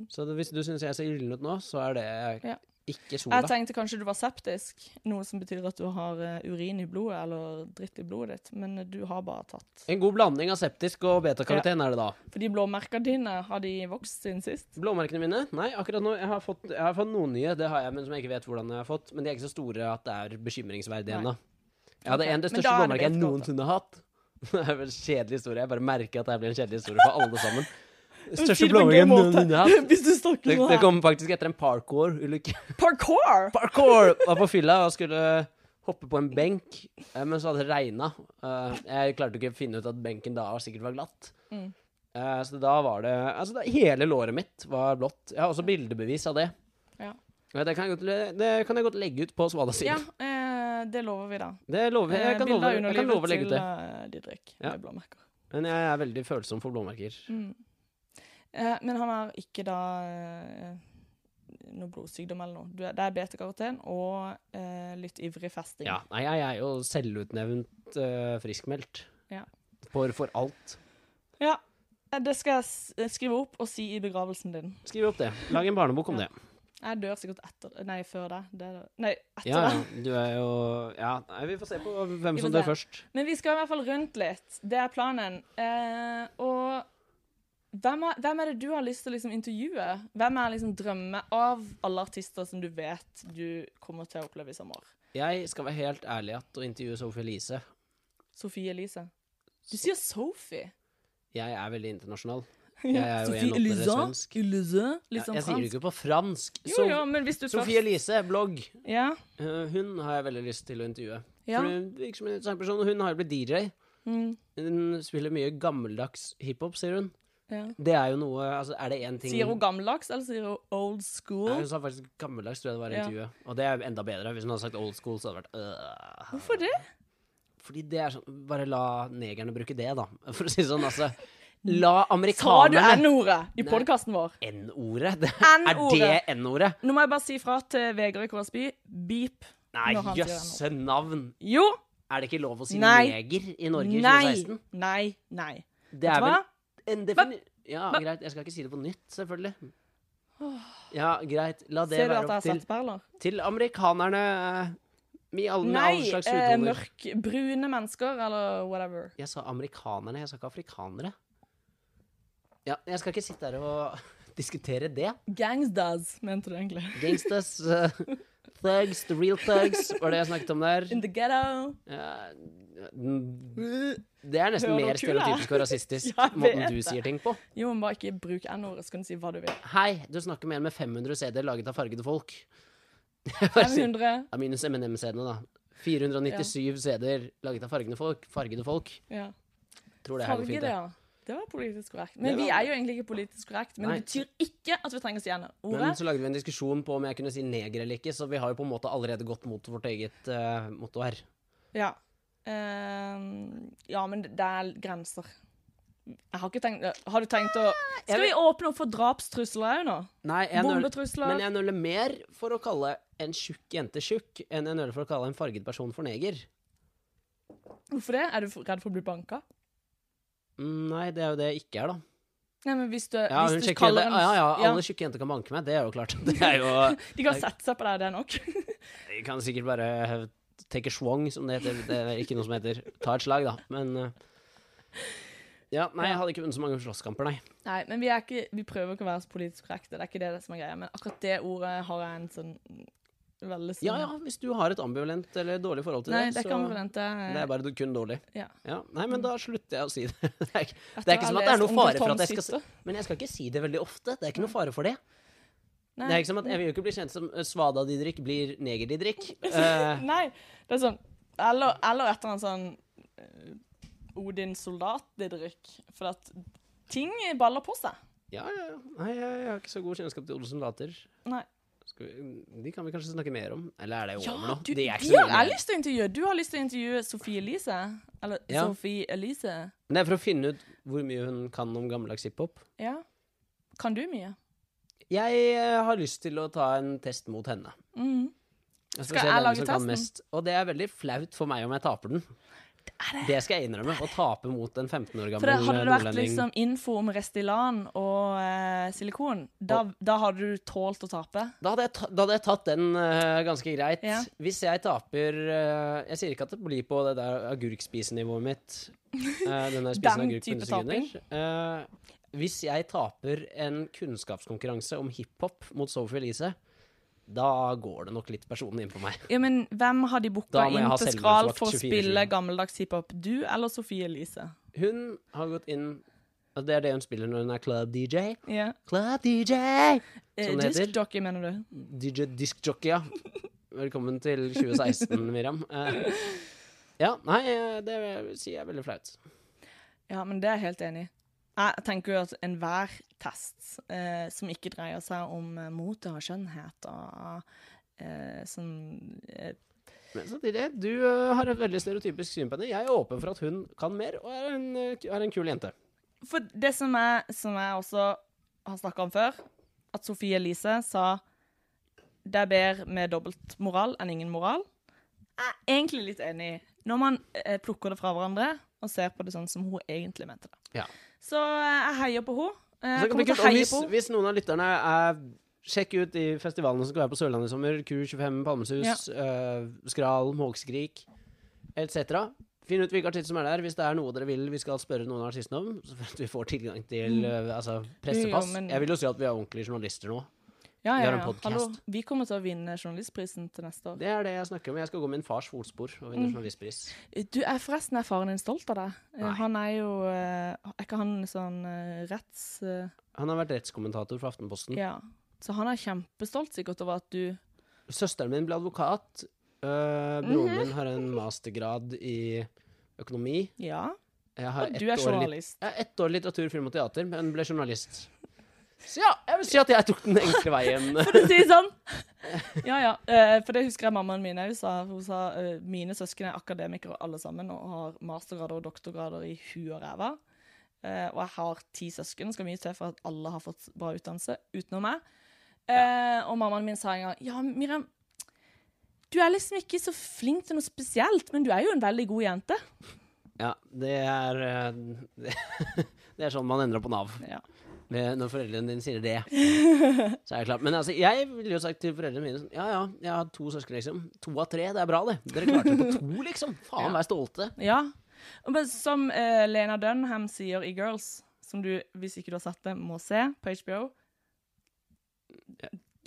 Så det, hvis du syns jeg ser gyllen ut nå, så er det Ja. ikke sola. Jeg tenkte kanskje du var septisk, noe som betyr at du har eh, urin i blodet eller dritt i blodet ditt, men eh, du har bare tatt. En god blanding av septisk og betakaroten er det da. For de blåmerkene dine, har de vokst siden sist? Blåmerkene mine? Nei, akkurat nå. Jeg har fått, jeg har fått noen nye, det har jeg, men som jeg ikke vet hvordan jeg har fått. Men de er ikke så store at det er bekymringsverdig Nei. ennå. Jeg hadde Ok, en av det men største da er det blåmerket jeg betakaroten. noensinne har hatt. *laughs* Det er vel en kjedelig historie. Jeg bare merker at det her blir en kjedelig historie for alle sammen. Største Si det på en blåmerket gøy jeg måte. noensinne har hatt. *laughs* Hvis du snakker Det, sånn det her. kom faktisk etter en parkour-ulykke. *laughs* Parkour! Parkour! Var på fylla og skulle hoppe på en benk, eh, men så hadde det regna. Jeg klarte ikke å finne ut at benken da sikkert var glatt. Mm. Eh, Så da var det Altså, da, hele låret mitt var blått. Jeg har også bildebevis av det. Ja. Ja, Det kan jeg godt, det kan jeg godt legge ut på Svala sin. Ja, eh, det lover vi, da. Eh, Det lover jeg. Jeg kan, love, jeg kan love å legge ut det. Didrik Ja. med blåmerker. Men jeg er veldig følsom for blåmerker. Mm. Eh, men han har ikke da eh, noe blodsykdom eller noe. Du er, det er beta-karoten og eh, litt ivrig festing. Ja, nei, jeg er jo selvutnevnt eh, friskmeldt. Ja. For, for alt. Ja, eh, Det skal jeg s- skrive opp og si i begravelsen din. Skriv opp det. Lag en barnebok om *laughs* Ja. det. Jeg dør sikkert etter Nei, før deg. Det er- Nei, etter Ja, deg. ja, du er jo Ja, nei, vi får se på hvem Vi som får dør se. først. Men vi skal i hvert fall rundt litt. Det er planen. Eh, og hvem er, hvem er det du har lyst til å liksom intervjue? Hvem er liksom drømme av alle artister som du vet du kommer til å oppleve i sommer? Jeg skal være helt ærlig at å intervjue Sophie Elise Sofie Elise. Du sier Sophie. Jeg er veldig internasjonal. Jeg er jo Sophie 1,8 Elise. svensk. Elise. Litt sånn Jeg sier det fransk. ikke på fransk. Jo, Sof- jo, men hvis du Sophie Elise, blogg. først Ja. Eh, hun har jeg veldig lyst til å intervjue. Ja. For hun virker som en interessant person, og hun har jo blitt DJ. Mm. Hun spiller mye gammeldags hiphop, sier hun. Ja. Det er jo noe altså, Er det én ting Sier hun gammeldags, eller sier hun old Nei, school? Hun sa faktisk gammeldags, tror jeg det var i Ja. intervjuet. Og det er jo enda bedre. Hvis hun hadde sagt old school, så hadde det vært øh. Hvorfor det? Fordi det er sånn Bare la negerne bruke det, da. *laughs* For å si det sånn, altså. La Sa du amerikanerne N-ordet i Nei. podkasten vår? N-ordet? *laughs* Det- Er det N-ordet. N-ordet? Nå må jeg bare si fra til Vegard i Kårsby. Beep. Nei, Når han sier jøsse navn! Jo! Er det ikke lov å si Nei. neger i Norge i Nei. 2016? Nei. Nei. Det er Vet du hva? vel en defini... Ja, greit. Jeg skal ikke si det på nytt, selvfølgelig. Ja, greit. La det Ser du være at jeg har opp til, satt perler? til amerikanerne eh, med all, med all Nei. slags Eh, uthoder. Mørkbrune mennesker, eller whatever. Jeg sa amerikanerne, jeg sa ikke afrikanere. Ja, jeg skal ikke sitte her og *laughs* diskutere det. Gangstas, mente du egentlig. Gangsters, eh, thugs, the real thugs, var det jeg snakket om der. In the ghetto. Ja, det er nesten Hører mer du kul, da? stereotypisk og rasistisk, *laughs* Ja, jeg måten vet du det. sier ting på. Jo, men bare ikke bruk N-ordet, så kan du si hva du *laughs* vil. Hei, du snakker med en med 500 CD laget av fargede folk. *laughs* Jeg bare sier- 500. Ja, minus MNM-CD-ene, da. 497 CD-er laget av fargede folk. Fargede folk. Ja. Tror det her går Farge, fint. det, det. ja. Det var politisk korrekt. Men Det vi var- er jo egentlig ikke politisk korrekt. Men Nei. det betyr ikke at vi trenger å si N-ordet. Men så lagde vi en diskusjon på om jeg kunne si neger eller ikke, så vi har jo på en måte allerede gått mot vårt eget eh, motto her. Ja. Ehm, ja, men det er grenser. Jeg har ikke tenkt Har du tenkt å Skal vi åpne opp for drapstrusler òg nå? Nei, jeg nøler- Bombetrusler. Men jeg nøler mer for å kalle en tjukk jente tjukk, enn jeg nøler for å kalle en farget person for neger. Hvorfor det? Er du for- redd for å bli banka? Mm, Nei, det er jo det jeg ikke er, da. Nei, men hvis du, Ja, hun hvis du sjekker det. kaller en Ja, ja, ja, alle tjukke jenter kan banke meg, det er jo klart. *laughs* Det er jo De kan sette seg på deg, det er nok. *laughs* Jeg kan sikkert bare take a swong, som det heter. Det er ikke noe som heter ta et slag, da. Men eh, Ja, nei, jeg hadde ikke vunnet så mange slåsskamper, nei. Nei, men vi, er ikke, vi prøver ikke å være så politisk korrekte. Det er ikke det som er greia. Men akkurat det ordet har jeg en sånn veldig sånn Ja ja, hvis du har et ambivalent eller dårlig forhold til Nei, det, det er ikke ambivalent. Det er- Det er bare kun dårlig. Ja. Ja, nei, men da slutter jeg å si det. *laughs* Det er ikke, Etter det er ikke å ha sånn at det er lest noe Onkel fare for Toms at jeg skal hytte. si Men jeg skal ikke si det veldig ofte. Det er ikke noe fare for det. Nei. Det er ikke som at *laughs* Jeg vil jo ikke bli kjent som eh, Svada-Didrik blir Neger-Didrik. Eh, Nei, det er sånn Eller, eller etter en sånn eh, Odin soldat, Didrik. For at ting baller på seg. ja, ja, ja. Nei, jeg, jeg har ikke så god kjennskap til Olsen Later. Nei. Skal vi, de kan vi kanskje snakke mer om. Eller er det over Ja, nå? du, De de er har ikke så mye jeg mer. lyst til å intervjue. Du har lyst til å intervjue Sophie Elise. Eller Ja. Sophie Elise. Men det er for å finne ut hvor mye hun kan om gammeldags hiphop. Ja. Kan du mye? Jeg eh, har lyst til å ta en test mot henne. Mhm. Jeg Skal jeg hvem lage som kan testen? mest. Og det er veldig flaut for meg om jeg taper den. Det, skal jeg innrømme. Å tape mot en 15 år For det, gammel hadde det vært nordlending. liksom info om Restylan og eh, silikon, da, da hadde du tålt å tape. Da hadde, jeg ta, da hadde jeg tatt den eh, ganske greit. Ja. Hvis jeg taper eh, Jeg sier ikke at det blir på det der agurkspisenivået mitt. eh, *laughs* den der spisen Den agurk på type 100 sekunder. Eh, hvis jeg taper en kunnskapskonkurranse om hiphop mot Sophie Elise, da går det nok litt personen inn på meg. Ja, men hvem har de Da booka må jeg inn ha til Skral selvransakt for å 24/7. spille gammeldags hiphop? Du eller Sophie Elise? Hun har gått inn og Det er det hun spiller når hun er club DJ. Ja. Club DJ! Eh, Som det heter. Disc jockey, mener du? DJ Disc Jockey, ja. Velkommen til 2016, Miriam. Eh, ja, nei, eh, det vil jeg si er veldig flaut. Ja, men det er jeg helt enig i. Jeg tenker jo at enhver test eh, som ikke dreier seg om eh, mote og skjønnhet og eh, sånn eh, Men samtidig, du eh, har et veldig stereotypisk syn på henne. Jeg er åpen for at hun kan mer, og er en, eh, er en kul jente. For det som jeg, som jeg også har snakka om før, at Sofie Elise sa det er bedre med dobbeltmoral enn ingen moral. Jeg er egentlig litt enig i. Når man eh, plukker det fra hverandre og ser på det sånn som hun egentlig mente det. Ja. Så eh, jeg heier på henne. Eh, Så Jeg det kan bli kommer til kult. Og å heie hvis, på henne. hvis noen av lytterne er Sjekk ut de festivalene som skal være på Sørlandet i sommer. Q25, Palmesus, eh, Skral, Måkeskrik etc. Finn ut hvilke artister som er der. Hvis det er noe dere vil vi skal spørre noen av artistene om, så for at vi får tilgang til eh, altså, pressepass. Mm. Jo, jo, men- Jeg vil jo si at vi er ordentlige journalister nå. Ja, Vi ja, har en ja. podcast. Hallo, vi kommer til å vinne journalistprisen til neste år. Det er det jeg snakker om. Jeg skal gå min fars fotspor og Mm. vinne journalistpris. Du, er forresten er faren din stolt av deg. Eh, Nei. Han er jo eh, Er ikke han sånn eh, retts... eh, Han har vært rettskommentator for Aftenposten. ja. Så han er kjempestolt sikkert over at du Søsteren min ble advokat. Mhm. Eh, broren min har en mastergrad i økonomi. Ja. Jeg har Og ett du er år lit- journalist. Jeg har ett år litteratur, film og teater, men ble journalist. Så ja, jeg vil si at jeg tok den enkle veien. For å si det sånn. *laughs* Ja, ja. Eh, For det husker jeg mammaen min òg sa. Hun sa eh, mine søsken er akademikere alle sammen og har mastergrader og doktorgrader i huet og ræva. Eh, Og jeg har ti søsken. Skal mye til for at alle har fått bra utdannelse utenom meg. Eh, Og mammaen min sa en gang Ja, Miriam, du er liksom ikke så flink til noe spesielt, men du er jo en veldig god jente. Ja, det er eh, *laughs* Det, det er sånn man endrer på Nav. Ja. Med, når foreldrene dine sier det. Så er det klart. Men altså, jeg ville jo sagt til foreldrene mine sånn Ja ja, jeg har to søsken, liksom. To av tre, det er bra, det. Dere klarte det på to, liksom. Faen, vær stolte. Ja. Og men Som eh, Lena Dunham sier i Girls, som du, hvis ikke du har sett det, må se på HBO.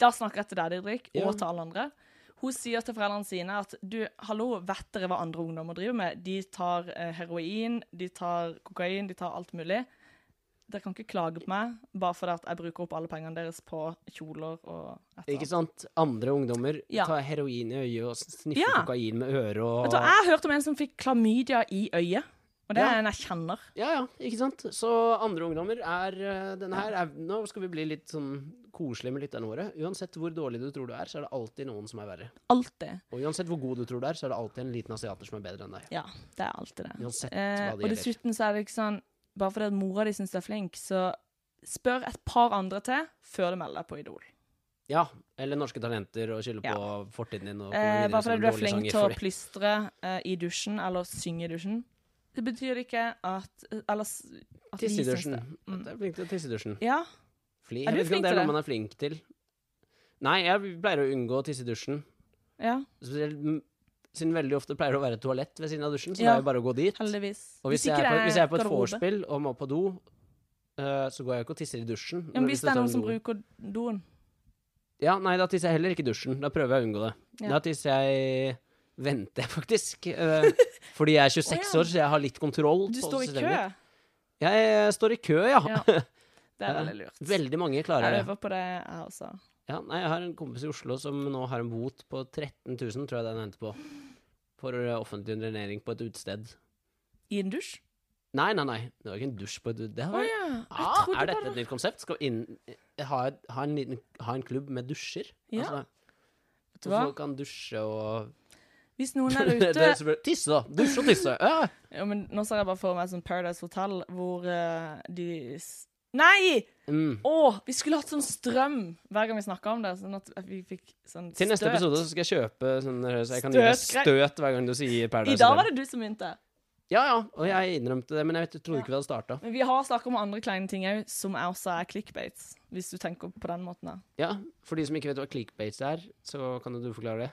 Da snakker jeg til deg, Didrik, og Ja. til alle andre. Hun sier til foreldrene sine at du, hallo, vet dere hva andre ungdommer driver med? De tar eh, heroin, de tar kokain, de tar alt mulig. Dere kan ikke klage på meg bare fordi at jeg bruker opp alle pengene deres på kjoler og Ikke sant? Andre ungdommer Ja. tar heroin i øyet og sniffer Ja. kokain med øret Vet og du hva, Jeg hørte om en som fikk klamydia i øyet, og det Ja. er en jeg kjenner. Ja, ja, ikke sant? Så andre ungdommer er eh, denne her. Er, nå skal vi bli litt sånn koselige med lytterne våre. Uansett hvor dårlig du tror du er, så er det alltid noen som er verre. Alltid. Og uansett hvor god du tror du er, så er det alltid en liten asiater som er bedre enn deg. Ja, det er alltid det. Uansett Eh, hva og det gjelder. dessuten så er det ikke sånn Bare fordi at mora di syns du er flink, så spør et par andre til før du melder deg på Idol. Ja, eller norske talenter og skylde på Ja. fortiden din. Og komme Eh, videre bare som fordi du er dårlig flink sanger, til å fordi- plystre eh, i dusjen eller synge i dusjen. Det betyr ikke at Eller s- at vi Tisse i syns dusjen. det. Mm. Du er flink til å tisse i dusjen. Ja. Fli. Jeg Er du vet ikke flink om det til er det? noe man er flink til. Nei, jeg pleier å unngå å tisse i dusjen. ja, Spesielt m- siden veldig ofte pleier det å være et toalett ved siden av dusjen, så det Ja. er jo bare å gå dit. heldigvis. Og hvis, jeg ikke er, på, det hvis jeg er på et garderobe. vorspiel og må på do, eh, så går jeg ikke og tisser i dusjen. ja, men Hvis det står er noen en som do. bruker doen Ja, nei, da tisser jeg heller ikke i dusjen. Da prøver jeg å unngå det. Ja. Da tisser jeg Venter jeg faktisk. *laughs* eh, fordi jeg er 26 Å, ja. år, så jeg har litt kontroll. Du på står i systemet kø. mitt. Jeg står i kø, ja. Ja, Det er veldig lurt. *laughs* Veldig mange klarer Jeg det. øver på det, jeg altså. også. Ja, nei, jeg har en kompis i Oslo som nå har en bot på 13 000, tror jeg den endte på. For eh, offentlig urinering på et utested. I en dusj? Nei, nei, nei. Det var ikke en dusj på et utested. Å ja. Jeg Ah, trodde er dette bare et nytt konsept? Skal vi inn, ha, et- ha, en liten, ha en klubb med dusjer? Ja, Altså, Vet du så hva? folk kan dusje og Hvis *laughs* noen er Det- ute det som er- Tisse, da! Dusje og tisse! Ja. ja, men Nå ser jeg bare for meg sånn Paradise Hotel hvor eh, de s- Nei! Mm. Å! Vi skulle hatt sånn strøm hver gang vi snakka om det. Sånn at vi fikk sånn Til neste støt. episode så skal jeg kjøpe sånn så jeg kan gi deg Støtgre- støt hver gang du sier Paradise I dag Hotel. var det du som begynte. Ja, ja. Og jeg innrømte det, men jeg vet, trodde ikke vi hadde starta. Men vi har snakka om andre kleine ting òg, som er også er clickbates. Hvis du tenker på den måten. da. Ja, for de som ikke vet hva clickbates er, så kan jo du forklare det.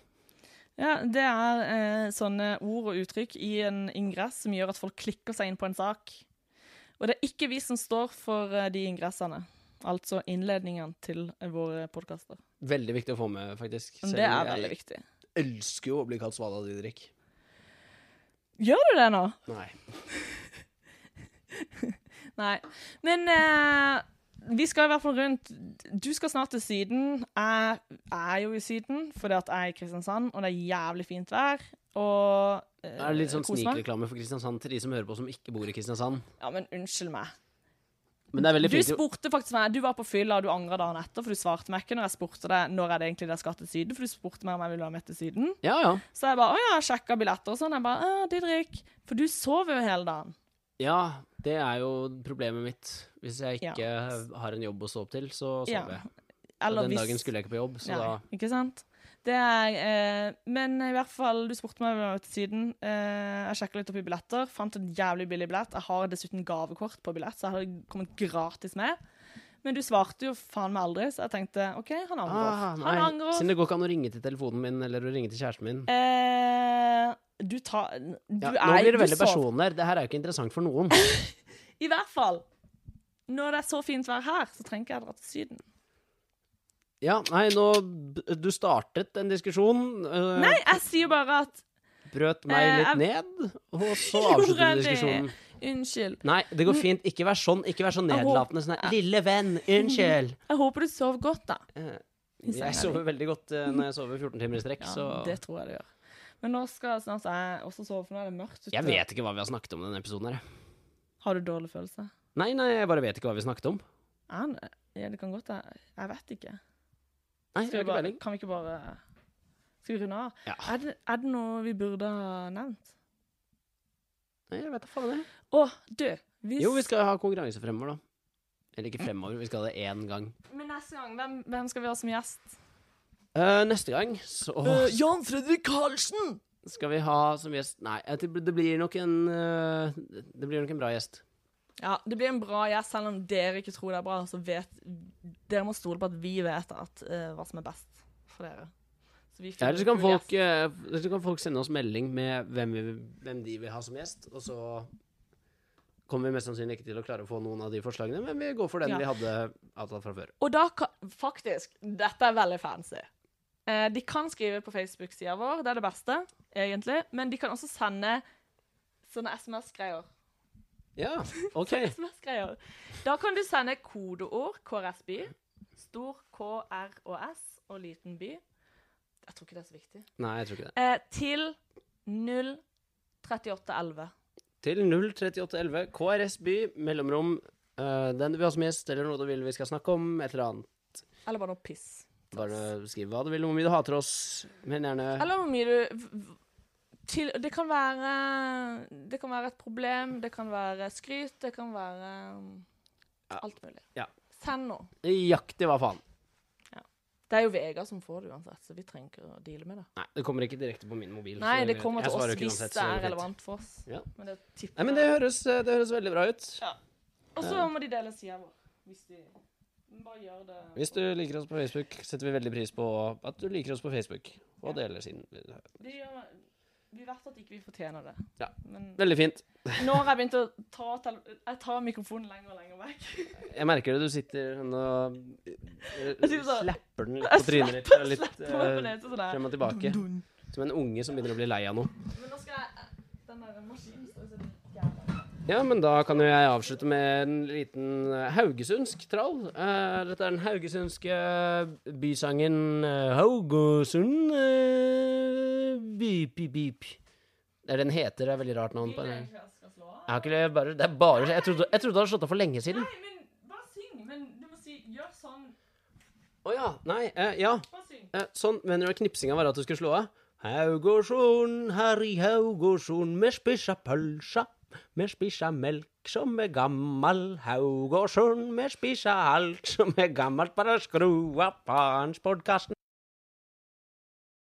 Ja, Det er eh, sånne ord og uttrykk i en ingress som gjør at folk klikker seg inn på en sak. Og det er ikke vi som står for eh, de ingressene. Altså innledningene til eh, våre podkaster. Veldig viktig å få med, faktisk. Det er veldig viktig. Jeg elsker jo å bli kalt Svala Didrik. Gjør du det nå? Nei. Nei. Men eh, vi skal i hvert fall rundt. Du skal snart til Syden. Jeg er jo i Syden fordi at jeg er i Kristiansand, og det er jævlig fint vær. Og eh, Det er litt sånn kos meg. snikreklame for Kristiansand til de som hører på som ikke bor i Kristiansand. Ja, men unnskyld meg. Men det er veldig Du fint. jo- spurte faktisk meg, du var på fylla, og du angra dagen etter, for du svarte meg ikke når jeg spurte deg når er det egentlig dere skal til Syden, for du spurte meg om jeg ville være med til Syden. Ja, ja. Så jeg bare å ja, sjekka billetter og sånn. Jeg bare å, Didrik, for du sover jo hele dagen. Ja, det er jo problemet mitt. Hvis jeg ikke har en jobb å stå opp til, så sover Ja, jeg. Og den dagen skulle jeg ikke på jobb, så Nei, ikke sant? Det er, eh, men i hvert fall, du spurte meg om jeg var til Syden. Eh, jeg sjekka litt opp i billetter, fant en jævlig billig billett. Jeg har dessuten gavekort på billett, så jeg hadde kommet gratis med. Men du svarte jo faen meg aldri, så jeg tenkte OK, han da angrer. han angrer. Ah, Siden det går ikke an å ringe til telefonen min eller å ringe til kjæresten min. Eh, du tar Du Ja, er nå blir det du veldig sov- personlig her. Det her er jo ikke interessant for noen. I hvert fall. Når det er så fint vær her, så trenger ikke jeg dra til Syden. Ja, nei, nå b- Du startet en diskusjon. øh, Nei, jeg sier bare at Brøt meg Eh, litt ned, og *laughs* så Gjorde avsluttet du det? diskusjonen. Unnskyld. Nei, det går fint. Ikke vær sånn. Ikke vær så Jeg nedlatende. Sånn her, Lille venn, *laughs* unnskyld. Jeg håper du sover godt, da. Eh, I senga Jeg di. sover veldig godt eh, når jeg sover 14 timer i strekk, Ja, så det tror jeg det gjør. Men nå skal snart jeg også sove, for nå er det mørkt ute. Jeg vet ikke hva vi har snakket om i denne episoden her. Har du dårlig følelse? Nei, nei, jeg bare vet ikke hva vi snakket om. Er han det? Ja, det kan godt være. Jeg vet ikke. Nei, jeg Skal har vi ikke bare, peiling. kan vi ikke bare Skal vi runde av? Ja. Er, det, er det noe vi burde ha nevnt? Nei, jeg vet da faen det. Å, du! Hvis, Jo, vi skal ha konkurranse fremover, da. Eller ikke fremover, vi skal ha det én gang. Men neste gang, hvem, hvem skal vi ha som gjest? Eh, neste gang så Eh, Jan Fredrik Karlsen! skal vi ha som gjest Nei, jeg tror det blir nok en eh, Det blir nok en bra gjest. Ja, det blir en bra gjest, selv om dere ikke tror det er bra. Så vet, dere må stole på at vi vet at, eh, hva som er best for dere. Så vi Ja, finner Eller så en kan, kul folk, gjest. eh, eller så kan folk sende oss melding med hvem, vi, hvem de vil ha som gjest, og så kommer vi mest sannsynlig ikke til å klare å få noen av de forslagene, men vi går for den Ja. vi hadde avtalt fra før. Og da kan Faktisk, dette er veldig fancy. Eh, de kan skrive på Facebook-sida vår, det er det beste, egentlig. Men de kan også sende sånne SMS-greier. Ja, *laughs* OK. SMS-greier. Da kan du sende kodeord KRS-by. Stor K, R og S og liten by. Jeg tror ikke det er så viktig. Nei, jeg tror ikke det. Eh, til 03811. Til 03811 KRS by, mellomrom, eh, den du vil ha som gjest, eller noe du vil vi skal snakke om, et eller annet. Eller bare noe piss. Bare skriv hva du vil, hvor mye du hater oss, men gjerne Eller hvor mye du v- v- til, det, kan være, det kan være et problem, det kan være skryt, det kan være um, alt mulig. Ja. Send noe. Nøyaktig hva faen. Det er jo Vegard som får det uansett, så vi trenger ikke å deale med det. Nei, det kommer ikke direkte på min mobil. så Nei, det jeg- kommer jeg til svarer oss jo ikke hvis uansett, det så er greit. relevant for oss. Ja. Men det tipper Nei, men det høres, eh, det høres veldig bra ut. Og så må de dele sida vår. Hvis de men bare gjør det Hvis du liker oss på Facebook, setter vi veldig pris på at du liker oss på Facebook. Og deler sin de gjør, Vi vet at ikke vi fortjener det. Ja. *laughs* Men Veldig fint. nå har jeg begynt å ta tele- Jeg tar mikrofonen lenger og lenger vekk. Jeg merker det. Du sitter sånn og eh, sitter sånn. slapper den litt på trynet ditt. og Litt Slipper meg på eh, nesa sånn der. frem og tilbake. Som en unge som begynner å bli lei av noe. Men nå skal jeg Den der maskinen står jo så jævla Ja, men da kan jo jeg avslutte med en liten eh, haugesundsk trall. Eh, dette er den haugesundske bysangen eh, Haugesund eh, Bip, bip, bip. Det er den heter. Det er veldig rart navn på den. Jeg skal slå av. Jeg har ikke det, bare, det er bare Jeg trodde, jeg trodde du hadde slått av for lenge siden. Nei, men bare syng. Men du må si Gjør sånn. Å ja. Nei. Eh, ja. Bare syng. Eh, sånn. Mener du at knipsinga var at du skulle slå av? Haugesund, her i Haugesund, vi spiser pølsa. Vi spiser melk som er gammal. Haugesund, vi spiser alt som er gammalt. Bare skru av på hans podkasten.